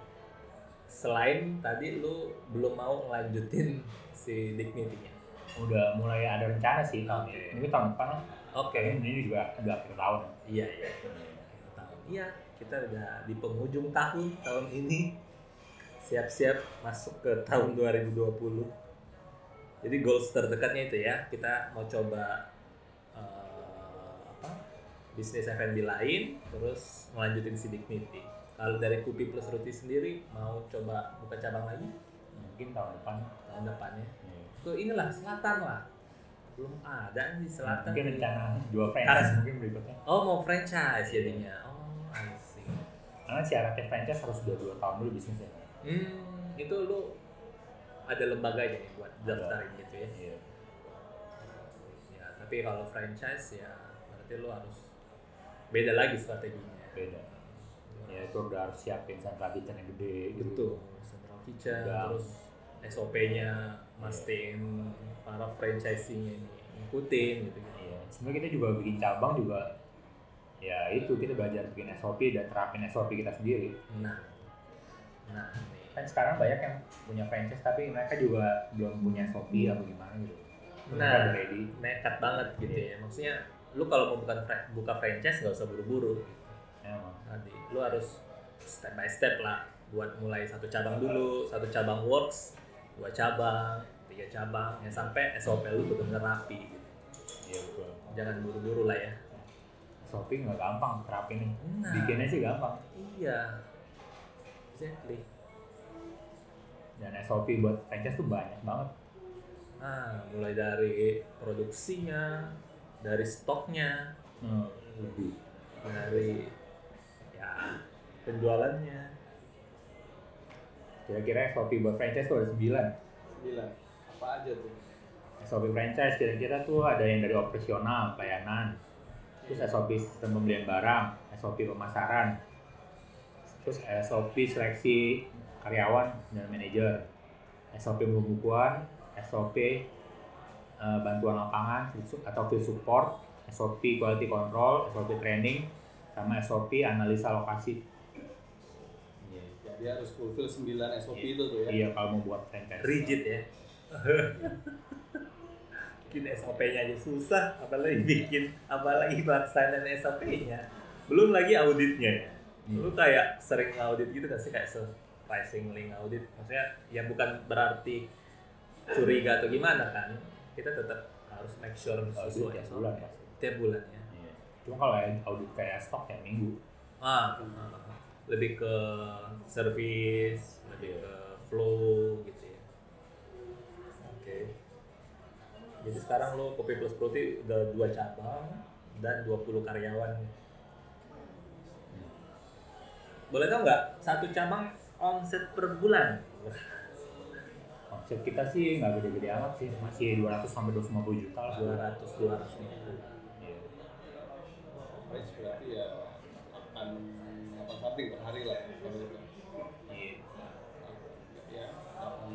S2: selain tadi lu belum mau ngelanjutin si dignity-nya
S3: udah mulai ada rencana sih
S2: Ah,
S3: tahun
S2: Oke.
S3: ini mungkin tahun depan lah
S2: oke
S3: kayaknya ini juga udah akhir tahun
S2: iya iya akhir tahun. Iya, kita udah di penghujung tahun tahun ini. Siap-siap masuk ke tahun 2020. Jadi goals terdekatnya itu ya, kita mau coba eh, apa? Bisnis F&B lain, terus melanjutin si Dignity. Kalau dari Kopi Plus Ruti sendiri mau coba buka cabang lagi
S3: mungkin tahun depan
S2: tahun depannya.
S3: Iya.
S2: Ke inilah selatan lah. Belum ada nih selatan.
S3: mungkin rencana
S2: Harus.
S3: dua franchise mungkin berikutnya
S2: Oh, mau franchise jadinya. Oh, I see.
S3: karena syaratnya franchise harus udah dua tahun dulu ya. bisnisnya
S2: Hmm, itu lu ada lembaganya nih buat
S3: Ada.
S2: daftarin gitu ya.
S3: Iya.
S2: Ya, tapi kalau franchise ya berarti lu harus beda lagi strateginya.
S3: beda ya itu udah harus siapin sentra kitchen yang gede gitu.
S2: Betul, central kitchen
S3: Udah.
S2: terus SOP-nya mastiin para franchising-nya ini ngikutin gitu.
S3: Iya, sebenarnya kita juga bikin cabang juga ya itu kita belajar bikin SOP dan terapin SOP kita sendiri.
S2: Nah. Nah, nih.
S3: Kan sekarang banyak yang punya franchise tapi mereka juga belum punya SOP apa gimana gitu. Belum
S2: Nah.
S3: ada ready.
S2: nekat banget gitu
S3: Iya.
S2: ya. Maksudnya lu kalau mau buka, fra- buka franchise nggak usah buru-buru.
S3: Emang.
S2: nanti lu harus step by step lah buat mulai satu cabang dulu satu cabang works dua cabang tiga cabang ya sampai SOP lu benar-benar rapi gitu.
S3: Iya betul.
S2: jangan buru-buru lah ya
S3: SOP nggak gampang terapin nih.
S2: Nah.
S3: Bikinnya sih gampang.
S2: iya exactly
S3: Dan SOP buat franchise tuh banyak banget.
S2: nah mulai dari produksinya dari stoknya
S3: Hmm. Lebih.
S2: dari ya penjualannya
S3: Kira-kira SOP buat franchise tuh ada 9.
S4: Sembilan. Apa aja tuh?
S3: SOP franchise kira-kira tuh ada yang dari operasional, pelayanan, terus
S4: Iya.
S3: SOP sistem pembelian barang, SOP pemasaran, terus SOP seleksi karyawan dan manajer, SOP pembukuan, SOP eh, bantuan lapangan field su- atau field support, SOP quality control, SOP training, sama SOP analisa lokasi.
S4: Iya. Jadi harus fulfill sembilan SOP
S3: Iya.
S4: itu tuh ya.
S3: Iya kalau mau buat franchise.
S2: rigid ya bikin SOP-nya aja susah apalagi
S3: Iya.
S2: bikin apalagi pelaksanaan SOP-nya belum lagi auditnya ya
S3: Iya,
S2: lu kayak sering audit gitu gak sih kayak surprisingly audit maksudnya ya bukan berarti curiga atau gimana kan kita tetap harus make sure
S3: Audit
S2: sesuai
S3: tiap
S2: SOP.
S3: bulan pasti.
S2: tiap bulan ya
S3: Iya. Cuma kalau audit kayak stok ya minggu.
S2: ah, ah, ah. lebih ke service lebih ke flow gitu ya oke jadi sekarang lo kopi plus Proti udah dua cabang dan 20 karyawan boleh tau nggak satu cabang omset per bulan
S3: Omset kita sih nggak gede-gede amat sih, masih 200 sampai 250 juta lah.
S2: 200 200
S3: Iya.
S4: Range berarti ya penggunaan 8 something per hari lah ya, kalau itu.
S3: Iya.
S4: Ya,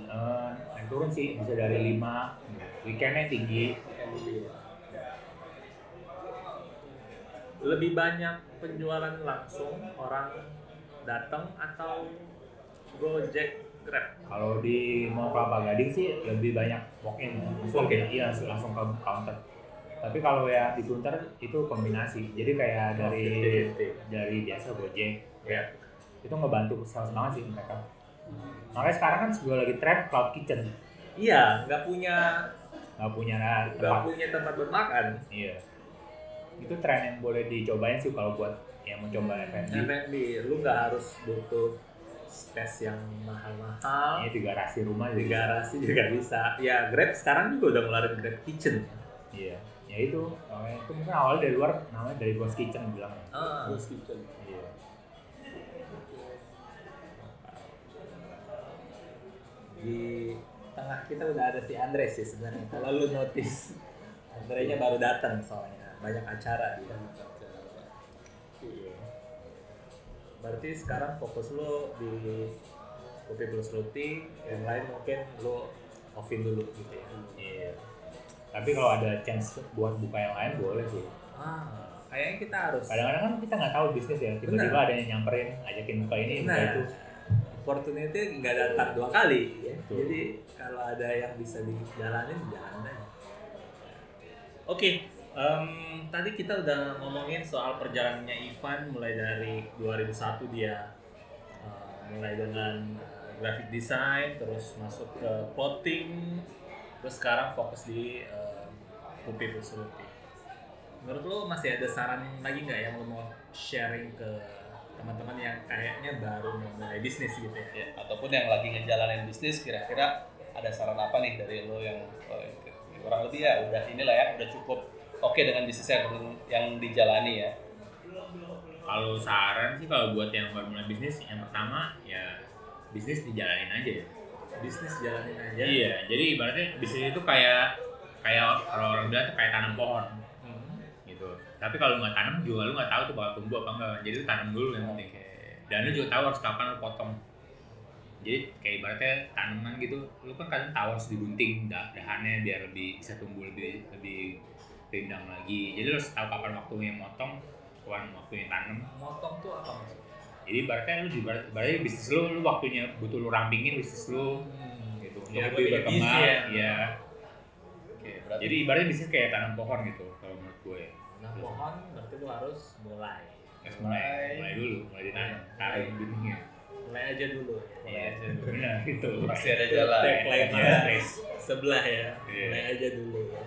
S3: Eh, yang turun sih bisa dari lima. Weekendnya tinggi.
S4: weekend review lah.
S2: Lebih banyak penjualan langsung orang datang atau Gojek Grab?
S3: Kalau di Mall Kelapa Gading sih lebih banyak walk-in, langsung
S2: Walk-in.
S3: iya langsung ke counter. Tapi kalau ya di Sunter itu kombinasi. Jadi kayak dari
S2: 50-50.
S3: dari biasa Gojek
S2: Oh, Ya.
S3: itu ngebantu sales banget sih mereka. Makanya sekarang kan gue lagi trend cloud kitchen,
S2: Iya, nggak punya
S3: nggak punya nah,
S2: nggak
S3: tempat.
S2: punya tempat buat makan.
S3: Iya. Itu tren yang boleh dicobain sih kalau buat ya yang mau
S2: Hmm.
S3: coba F&B.
S2: F&B, Nah, lu nggak harus butuh space yang mahal-mahal.
S3: Ini Iya, di garasi rumah
S2: Di
S3: juga.
S2: garasi juga bisa. Ya Grab sekarang juga udah ngeluarin Grab Kitchen.
S3: Iya. Ya itu. Makanya itu mungkin awalnya dari luar namanya dari Ghost Kitchen bilang.
S2: Ah,
S4: Terus kitchen.
S3: Iya.
S2: di tengah kita udah ada si Andres sih sebenarnya. Kalau lu notice, Andrenya baru datang soalnya banyak acara dia.
S3: Iya.
S2: Berarti sekarang fokus lu di kopi plus roti, yang lain mungkin lu offin dulu gitu ya.
S3: Iya. Tapi kalau ada chance buat buka yang lain boleh sih.
S2: Ah, kayaknya kita harus.
S3: Kadang-kadang kan kita nggak tahu bisnis ya. Tiba-tiba ada yang nyamperin, ajakin buka ini, buka
S2: Nah,
S3: itu.
S2: opportunity nggak datang dua kali. ya.
S3: Betul.
S2: Jadi kalau ada yang bisa dijalanin, jalan aja. Oke, em, tadi kita udah ngomongin soal perjalanannya Ivan mulai dari 2001 dia eh, mulai dengan eh, graphic design, terus masuk ke plotting, terus sekarang fokus di eh, Pupi Plus Rupi. Menurut lo masih ada saran lagi nggak yang lo mau sharing ke teman-teman yang kayaknya baru mau mulai bisnis gitu ya?
S5: ya, ataupun yang lagi ngejalanin bisnis kira-kira ada saran apa nih dari lo yang eh, kurang lebih ya udah inilah ya udah cukup oke dengan bisnis yang yang dijalani ya
S3: Kalau saran sih kalau buat yang baru mulai bisnis, yang pertama ya bisnis dijalanin aja ya.
S2: Bisnis jalanin aja.
S3: Iya, jadi ibaratnya bisnis itu kayak kayak kalau orang bilang tuh kayak tanam pohon
S2: Hmm.
S3: gitu. Tapi kalau lu nggak tanam juga lu nggak tahu tuh bakal tumbuh apa enggak. Jadi lu tanam dulu yang penting. Dan lu juga tahu harus kapan lu potong. Jadi kayak ibaratnya tanaman gitu, lu kan kadang tahu harus digunting dah- dahannya biar lebih bisa tumbuh lebih lebih rindang lagi. Jadi lu harus tahu kapan waktunya motong, kapan waktunya tanam.
S2: Motong tuh apa maksudnya?
S3: Jadi ibaratnya lu ibarat- ibaratnya bisnis lu, lu waktunya butuh lu rampingin bisnis lu gitu. Untuk
S2: Biar
S3: lebih
S2: lebih
S3: berkembang,
S2: efisien.
S3: ya.
S5: oke berarti
S3: Jadi ibaratnya bisnis kayak tanam pohon gitu kalau menurut gue.
S2: Nah pohon berarti lu harus mulai.
S3: Harus mulai, Iya. mulai dulu, mulai ditanam, tarik benihnya.
S2: Mulai aja dulu.
S3: Iya, benar gitu.
S5: masih ada jalan
S2: Tagline-nya.
S3: Iya.
S2: Sebelah ya.
S3: Iya.
S2: Mulai aja dulu ya.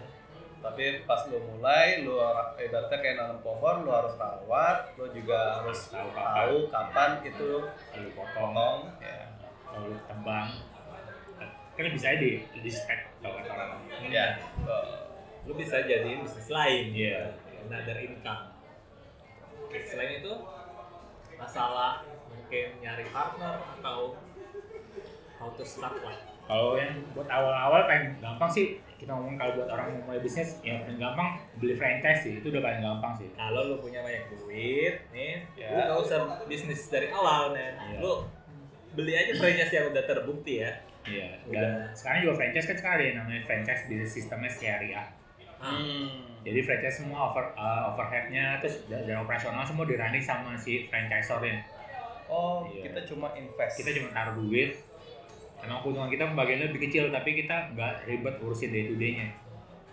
S5: tapi pas lu mulai lu orang- ibaratnya kayak nanam pohon lu harus rawat lu juga harus
S3: Tahu kapan.
S5: tahu kapan itu
S3: Lalu potong,
S5: ngomong ya
S3: lalu tebang. Kan bisa aja di, di spek kalau kata orang.
S5: ya betul.
S2: Lu bisa jadiin bisnis lain.
S3: Iya.
S2: Another income. Selain itu masalah mungkin nyari partner atau how to start one.
S3: Kalau yang buat awal-awal paling gampang sih kita ngomong kalau buat orang yang mulai bisnis yang paling gampang beli franchise sih itu udah paling gampang sih.
S2: kalau lu punya banyak duit nih
S5: Ya.
S2: lu gak usah bisnis dari awal nih
S3: Iya.
S2: lu beli aja franchise yang udah terbukti ya
S3: Iya. Dan sekarang juga franchise kan sekarang ada yang namanya franchise bisnis sistemnya syariah.
S2: Ah,
S5: Hmm.
S3: Jadi franchise semua over eh, overheadnya terus dan, dan operasional semua dirunning sama si franchisornya.
S5: oh
S3: Iya.
S5: kita cuma invest
S3: Kita cuma taruh duit. Emang keuntungan kita bagiannya lebih kecil tapi kita nggak ribet urusin day to day-nya.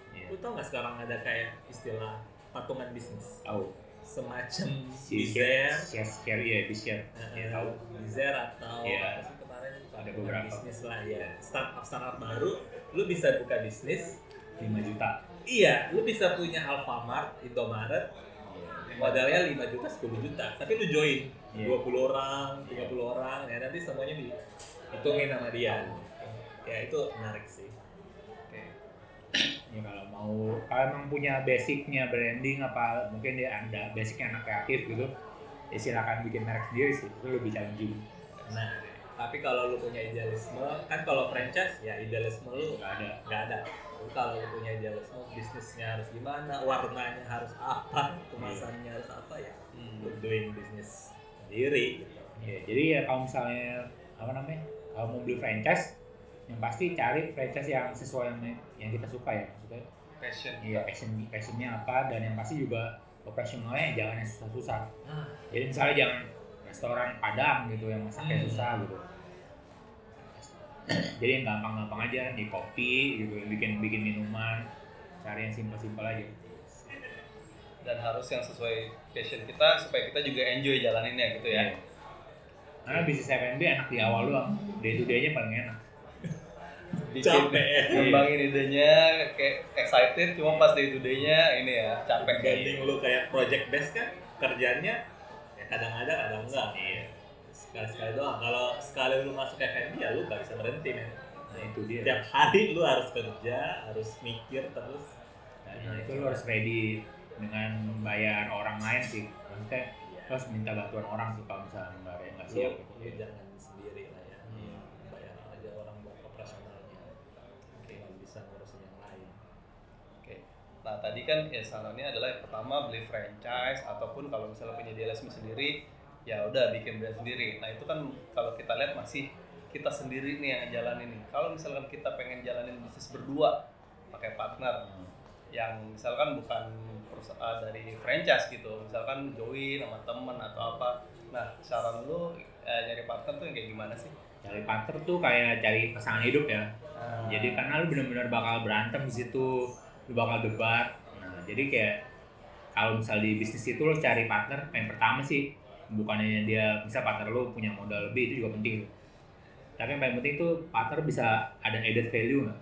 S3: Iya.
S2: lu tau gak sekarang ada kayak istilah patungan bisnis
S3: Tahu.
S2: semacam
S3: Si share,
S2: bizer
S3: share, share, iya, di share. Iya,
S2: eh,
S3: tahu.
S2: bizer atau
S3: Iya.
S2: apa sih kemarin patungan
S3: beberapa.
S2: bisnis lah ya startup startup baru lu bisa buka bisnis
S3: 5 juta.
S2: iya lu bisa punya Alfamart Indomaret modalnya 5 juta 10 juta tapi lu join
S3: Iya.
S2: 20 orang 30 orang ya nanti semuanya dihitungin sama dia ya itu menarik sih
S5: Oke.
S3: Ya kalau mau kalau emang punya basicnya branding apa mungkin dia ada basicnya anak kreatif gitu ya silakan bikin merek sendiri sih itu lebih challenging
S2: nah tapi kalau lu punya idealisme kan kalau franchise ya idealisme lu
S3: nggak ada
S2: nggak ada lu kalau punya jealous oh bisnisnya harus gimana warnanya harus apa kemasannya harus apa ya
S5: Hmm.
S2: lu doing bisnis sendiri gitu
S3: Ya, jadi ya kalau misalnya apa namanya kalau mau beli franchise yang pasti cari franchise yang sesuai yang, yang kita suka ya maksudnya
S5: Passion.
S3: ya passion passionnya apa dan yang pasti juga operasionalnya jangan yang susah-susah
S2: Ah.
S3: jadi misalnya jangan restoran padang gitu yang masaknya
S5: Hmm.
S3: susah gitu jadi yang gampang-gampang aja di kopi gitu bikin bikin minuman cari yang simpel-simpel aja
S5: Dan harus yang sesuai passion kita supaya kita juga enjoy jalaninnya gitu ya.
S3: Iya. karena bisnis F&B enak di awal doang day to day nya paling enak
S5: Bikin ngembangin idenya kayak excited cuma pas day to day-nya ini ya capek
S2: Ganding lu kayak project based kan kerjanya ya kadang ada kadang enggak. Iya. Sekali-sekali doang. Kalau sekali lu masuk F&B ya lu gak bisa berhenti men.
S3: nah itu dia
S2: Setiap hari lu harus kerja, harus mikir terus.
S3: nah itu lo harus ready dengan bayar orang lain sih maksudnya lo harus minta bantuan orang sih kalau misalnya nggak ada yang nggak siap Hmm.
S2: Lu, lu
S3: gitu.
S2: jangan sendiri lah ya. Bayar aja orang buat operasionalnya. Oke, nggak bisa ngurusin yang lain.
S5: Oke. Nah tadi kan ya sarannya adalah yang pertama beli franchise ataupun kalau misalnya punya DLSM sendiri ya udah bikin brand sendiri. Nah itu kan kalau kita lihat masih kita sendiri nih yang jalanin nih. Kalau misalkan kita pengen jalanin bisnis berdua pakai partner
S3: Hmm.
S5: yang misalkan bukan perusahaan dari franchise gitu, misalkan join sama temen atau apa. Nah saran lu eh, nyari partner tuh yang kayak gimana sih?
S3: cari partner tuh kayak cari pasangan hidup ya
S2: Hmm.
S3: jadi karena lu benar-benar bakal berantem di situ lu bakal debat nah jadi kayak kalau misal di bisnis itu lu cari partner yang pertama sih bukannya dia bisa partner lu punya modal lebih itu juga penting tapi yang paling penting tuh partner bisa ada added value nggak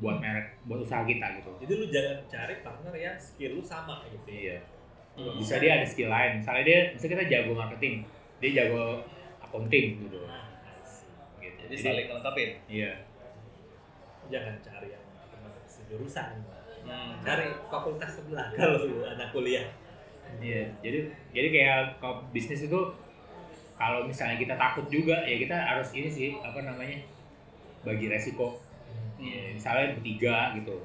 S3: buat merek buat usaha kita gitu
S2: Jadi lu jangan cari partner yang skill lu sama gitu ya.
S3: Iya. Bisa dia ada skill lain. Misalnya dia, misalnya kita jago marketing, dia jago accounting gitu.
S2: Nah,
S3: Gitu.
S5: Jadi saling lengkapin.
S3: Iya.
S2: Jangan cari yang teman sejurusan.
S5: Hmm.
S2: Cari fakultas sebelah kalau lu anak kuliah.
S3: Iya. Jadi jadi kayak kalau bisnis itu kalau misalnya kita takut juga ya kita harus ini sih apa namanya bagi resiko. Iya, misalnya bertiga gitu.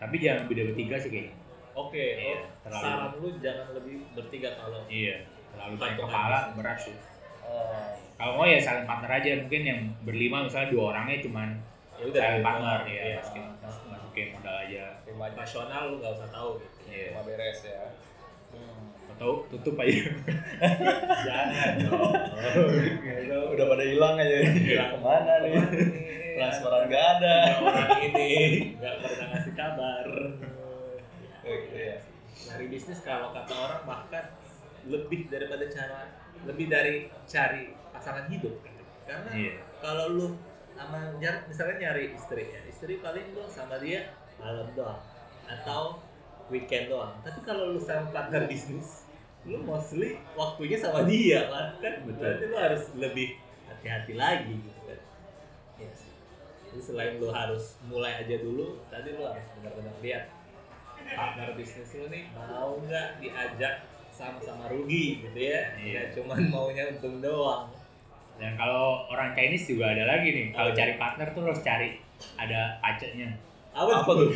S3: Tapi jangan beda bertiga sih kayaknya.
S2: Oke,
S3: Iya,
S2: oh,
S3: terlalu.
S2: saran lu jangan lebih bertiga kalau
S3: Iya. Terlalu banyak
S2: Patungan
S3: kepala
S2: bisnis.
S3: berat sih.
S5: Oh.
S3: Kalau mau ya saling partner aja mungkin yang berlima misalnya dua orangnya cuman
S2: ya udah
S3: saling
S2: gitu.
S3: partner ya
S2: Iya.
S3: masukin, mas- masukin modal aja.
S5: Terima aja,
S2: Nasional lu nggak usah tahu gitu.
S3: Iya.
S5: terima beres ya.
S3: Atau tutup aja.
S2: Jangan dong.
S5: udah pada hilang aja hilang Iya. kemana nih transferan gak ada
S2: Orang ini nggak pernah ngasih kabar.
S5: gitu ya
S2: Dari bisnis kalau kata orang bahkan lebih daripada cara lebih dari cari pasangan hidup gitu. Karena
S3: Iya.
S2: kalau lu sama nyari, misalnya nyari istri ya istri paling lu sama dia malam doang atau weekend doang tapi kalau lu sama partner bisnis lu mostly waktunya sama dia kan kan
S3: Betul.
S2: berarti lu harus lebih hati-hati lagi gitu kan Iya sih. jadi selain lu harus mulai aja dulu tadi lu harus benar-benar lihat partner bisnis lu nih mau nggak diajak sama-sama rugi gitu ya
S3: Iya.
S2: Nggak cuman maunya untung doang
S3: Dan kalau orang Chinese juga ada lagi nih. Kalau
S2: Apa?
S3: cari partner tuh harus cari ada pacetnya.
S2: apa, tuh?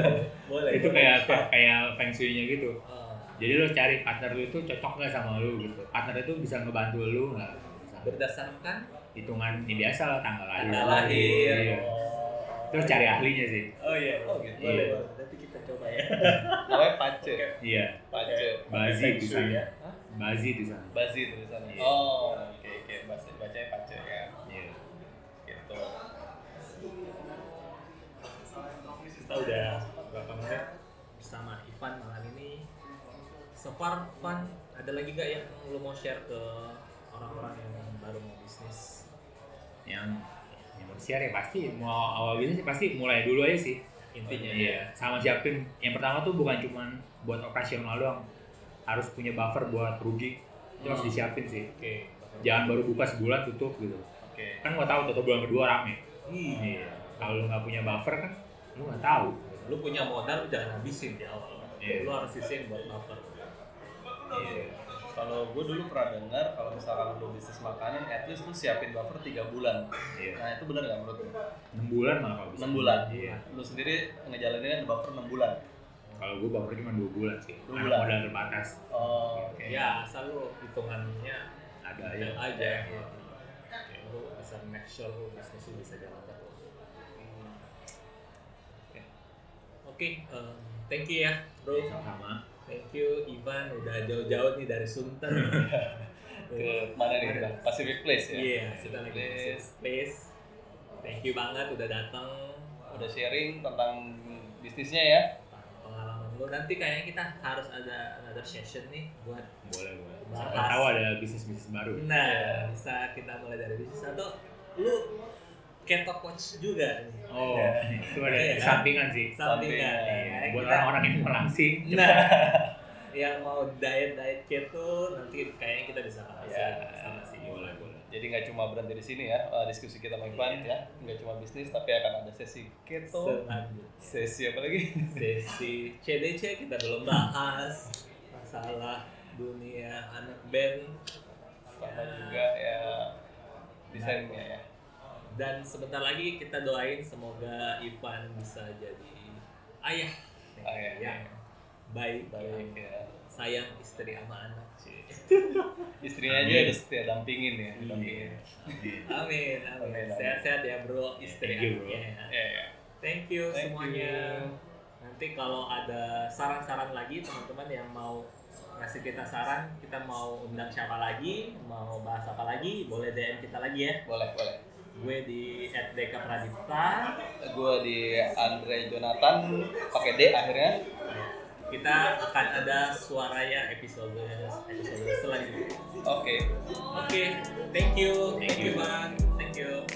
S2: boleh
S3: Itu
S2: boleh.
S3: kayak kayak feng shui-nya gitu.
S2: Ah,
S3: Jadi lo cari partner lu itu cocok nggak sama lu gitu. Partner itu bisa ngebantu lu nggak? Misalnya
S2: berdasarkan
S3: Hitungan ini biasa lah tanggal lahir.
S2: Tanggal lahir.
S3: Iya. Terus cari ahlinya sih.
S2: oh iya
S5: Oh, gitu.
S2: boleh
S3: Iya.
S2: boleh. nanti kita coba ya
S5: namanya pace
S3: Iya.
S5: pace
S3: Bazi
S2: Feng
S3: di
S2: Shui
S3: sana.
S2: ya.
S3: Bazi di sana.
S5: bazi tulisannya
S3: Iya.
S5: oh oke oke bahasa bacanya pace ya
S3: Iya.
S5: gitu
S2: kita udah berapa menit bersama Ivan malam ini so far Van ada lagi gak yang lu mau share ke orang-orang yang baru mau bisnis
S3: Yang yang mau share ya pasti mau awal bisnis pasti mulai dulu aja sih.
S2: intinya
S3: Iya, sama siapin. Yang pertama tuh bukan cuman buat operasional doang. Harus punya buffer buat rugi. Itu harus
S5: Hmm.
S3: disiapin sih.
S2: oke
S3: Jangan baru buka sebulan tutup gitu.
S5: oke
S3: Kan nggak tahu tutup bulan kedua rame.
S2: Ih,
S3: Iya. Kalau lu nggak punya buffer kan, lu nggak tahu.
S2: lu punya modal lu jangan habisin di awal
S3: Iya.
S2: lu harus sisain buat buffer
S3: Iya.
S5: kalau gue dulu pernah dengar kalau misalkan lu bisnis makanan at least lu siapin buffer 3 bulan
S3: Iya.
S5: nah itu benar nggak menurut lu?
S3: 6 bulan malah kalau bisa.
S5: 6 bulan
S3: Iya.
S5: lu sendiri ngejalaninnya ada buffer 6 bulan
S3: Kalau gue baper cuma 2 bulan sih.
S5: Dua
S3: Karena
S5: bulan.
S3: Modal terbatas.
S5: oh, oke
S2: ya asal lu hitungannya
S3: Ada aja.
S2: ada aja ya. lu bisa make sure lu bisnis lu bisa jalan terus oke oke eh, thank you ya bro
S3: Iya. Sama.
S2: thank you Ivan udah jauh-jauh nih dari Sunten
S5: ke mana nih kita? Pacific Place ya
S2: Iya, kita
S5: Pacific
S2: lagi
S5: Place
S2: please. please. Thank you banget udah datang.
S5: udah sharing tentang bisnisnya ya
S2: pengalaman lu. Nanti kayaknya kita harus ada another session nih buat
S3: Boleh boleh.
S2: Bahas.
S3: Siapa tahu ada bisnis bisnis baru.
S2: Nah, bisa kita mulai dari bisnis satu. Lu keto coach juga nih.
S3: Oh, itu ada
S2: Iya.
S3: sampingan sih.
S2: Sampingan.
S3: Iya,
S2: Nah,
S3: Buat
S2: kita-
S3: orang-orang yang mau langsing.
S2: Nah, yang mau diet-diet keto nanti kayaknya kita bisa bahas
S5: Iya.
S2: sama si
S3: Boleh boleh.
S5: jadi nggak cuma berhenti di sini ya eh, diskusi kita sama Ivan ya nggak cuma bisnis tapi akan ada sesi keto
S2: Selanjutnya.
S5: sesi apa lagi
S2: sesi CDC kita belum bahas masalah dunia anak band
S5: sama juga ya desainnya ya
S2: dan sebentar lagi kita doain semoga Ivan bisa jadi ayah
S5: Ayah.
S2: yang baik
S5: baik
S2: yang
S5: ya
S2: sayang istri sama anak cuy.
S5: istrinya aja
S3: Amin.
S5: udah setia dampingin ya dampingin
S2: amin
S5: Amin,
S2: amin
S5: amin.
S2: sehat-sehat ya bro istri
S3: Thank you,
S2: anaknya.
S5: ya ya
S2: thank you
S5: Thank
S2: semuanya
S5: you.
S2: nanti kalau ada saran-saran lagi teman-teman yang mau ngasih kita saran kita mau undang siapa lagi mau bahas apa lagi boleh DM kita lagi ya
S5: boleh boleh
S2: gue di @dekapradipta
S5: gue di Andre Jonathan pakai D akhirnya
S2: kita akan ada suaranya episode episode selanjutnya.
S5: oke
S2: Oke, thank you, thank you, Bang, thank you.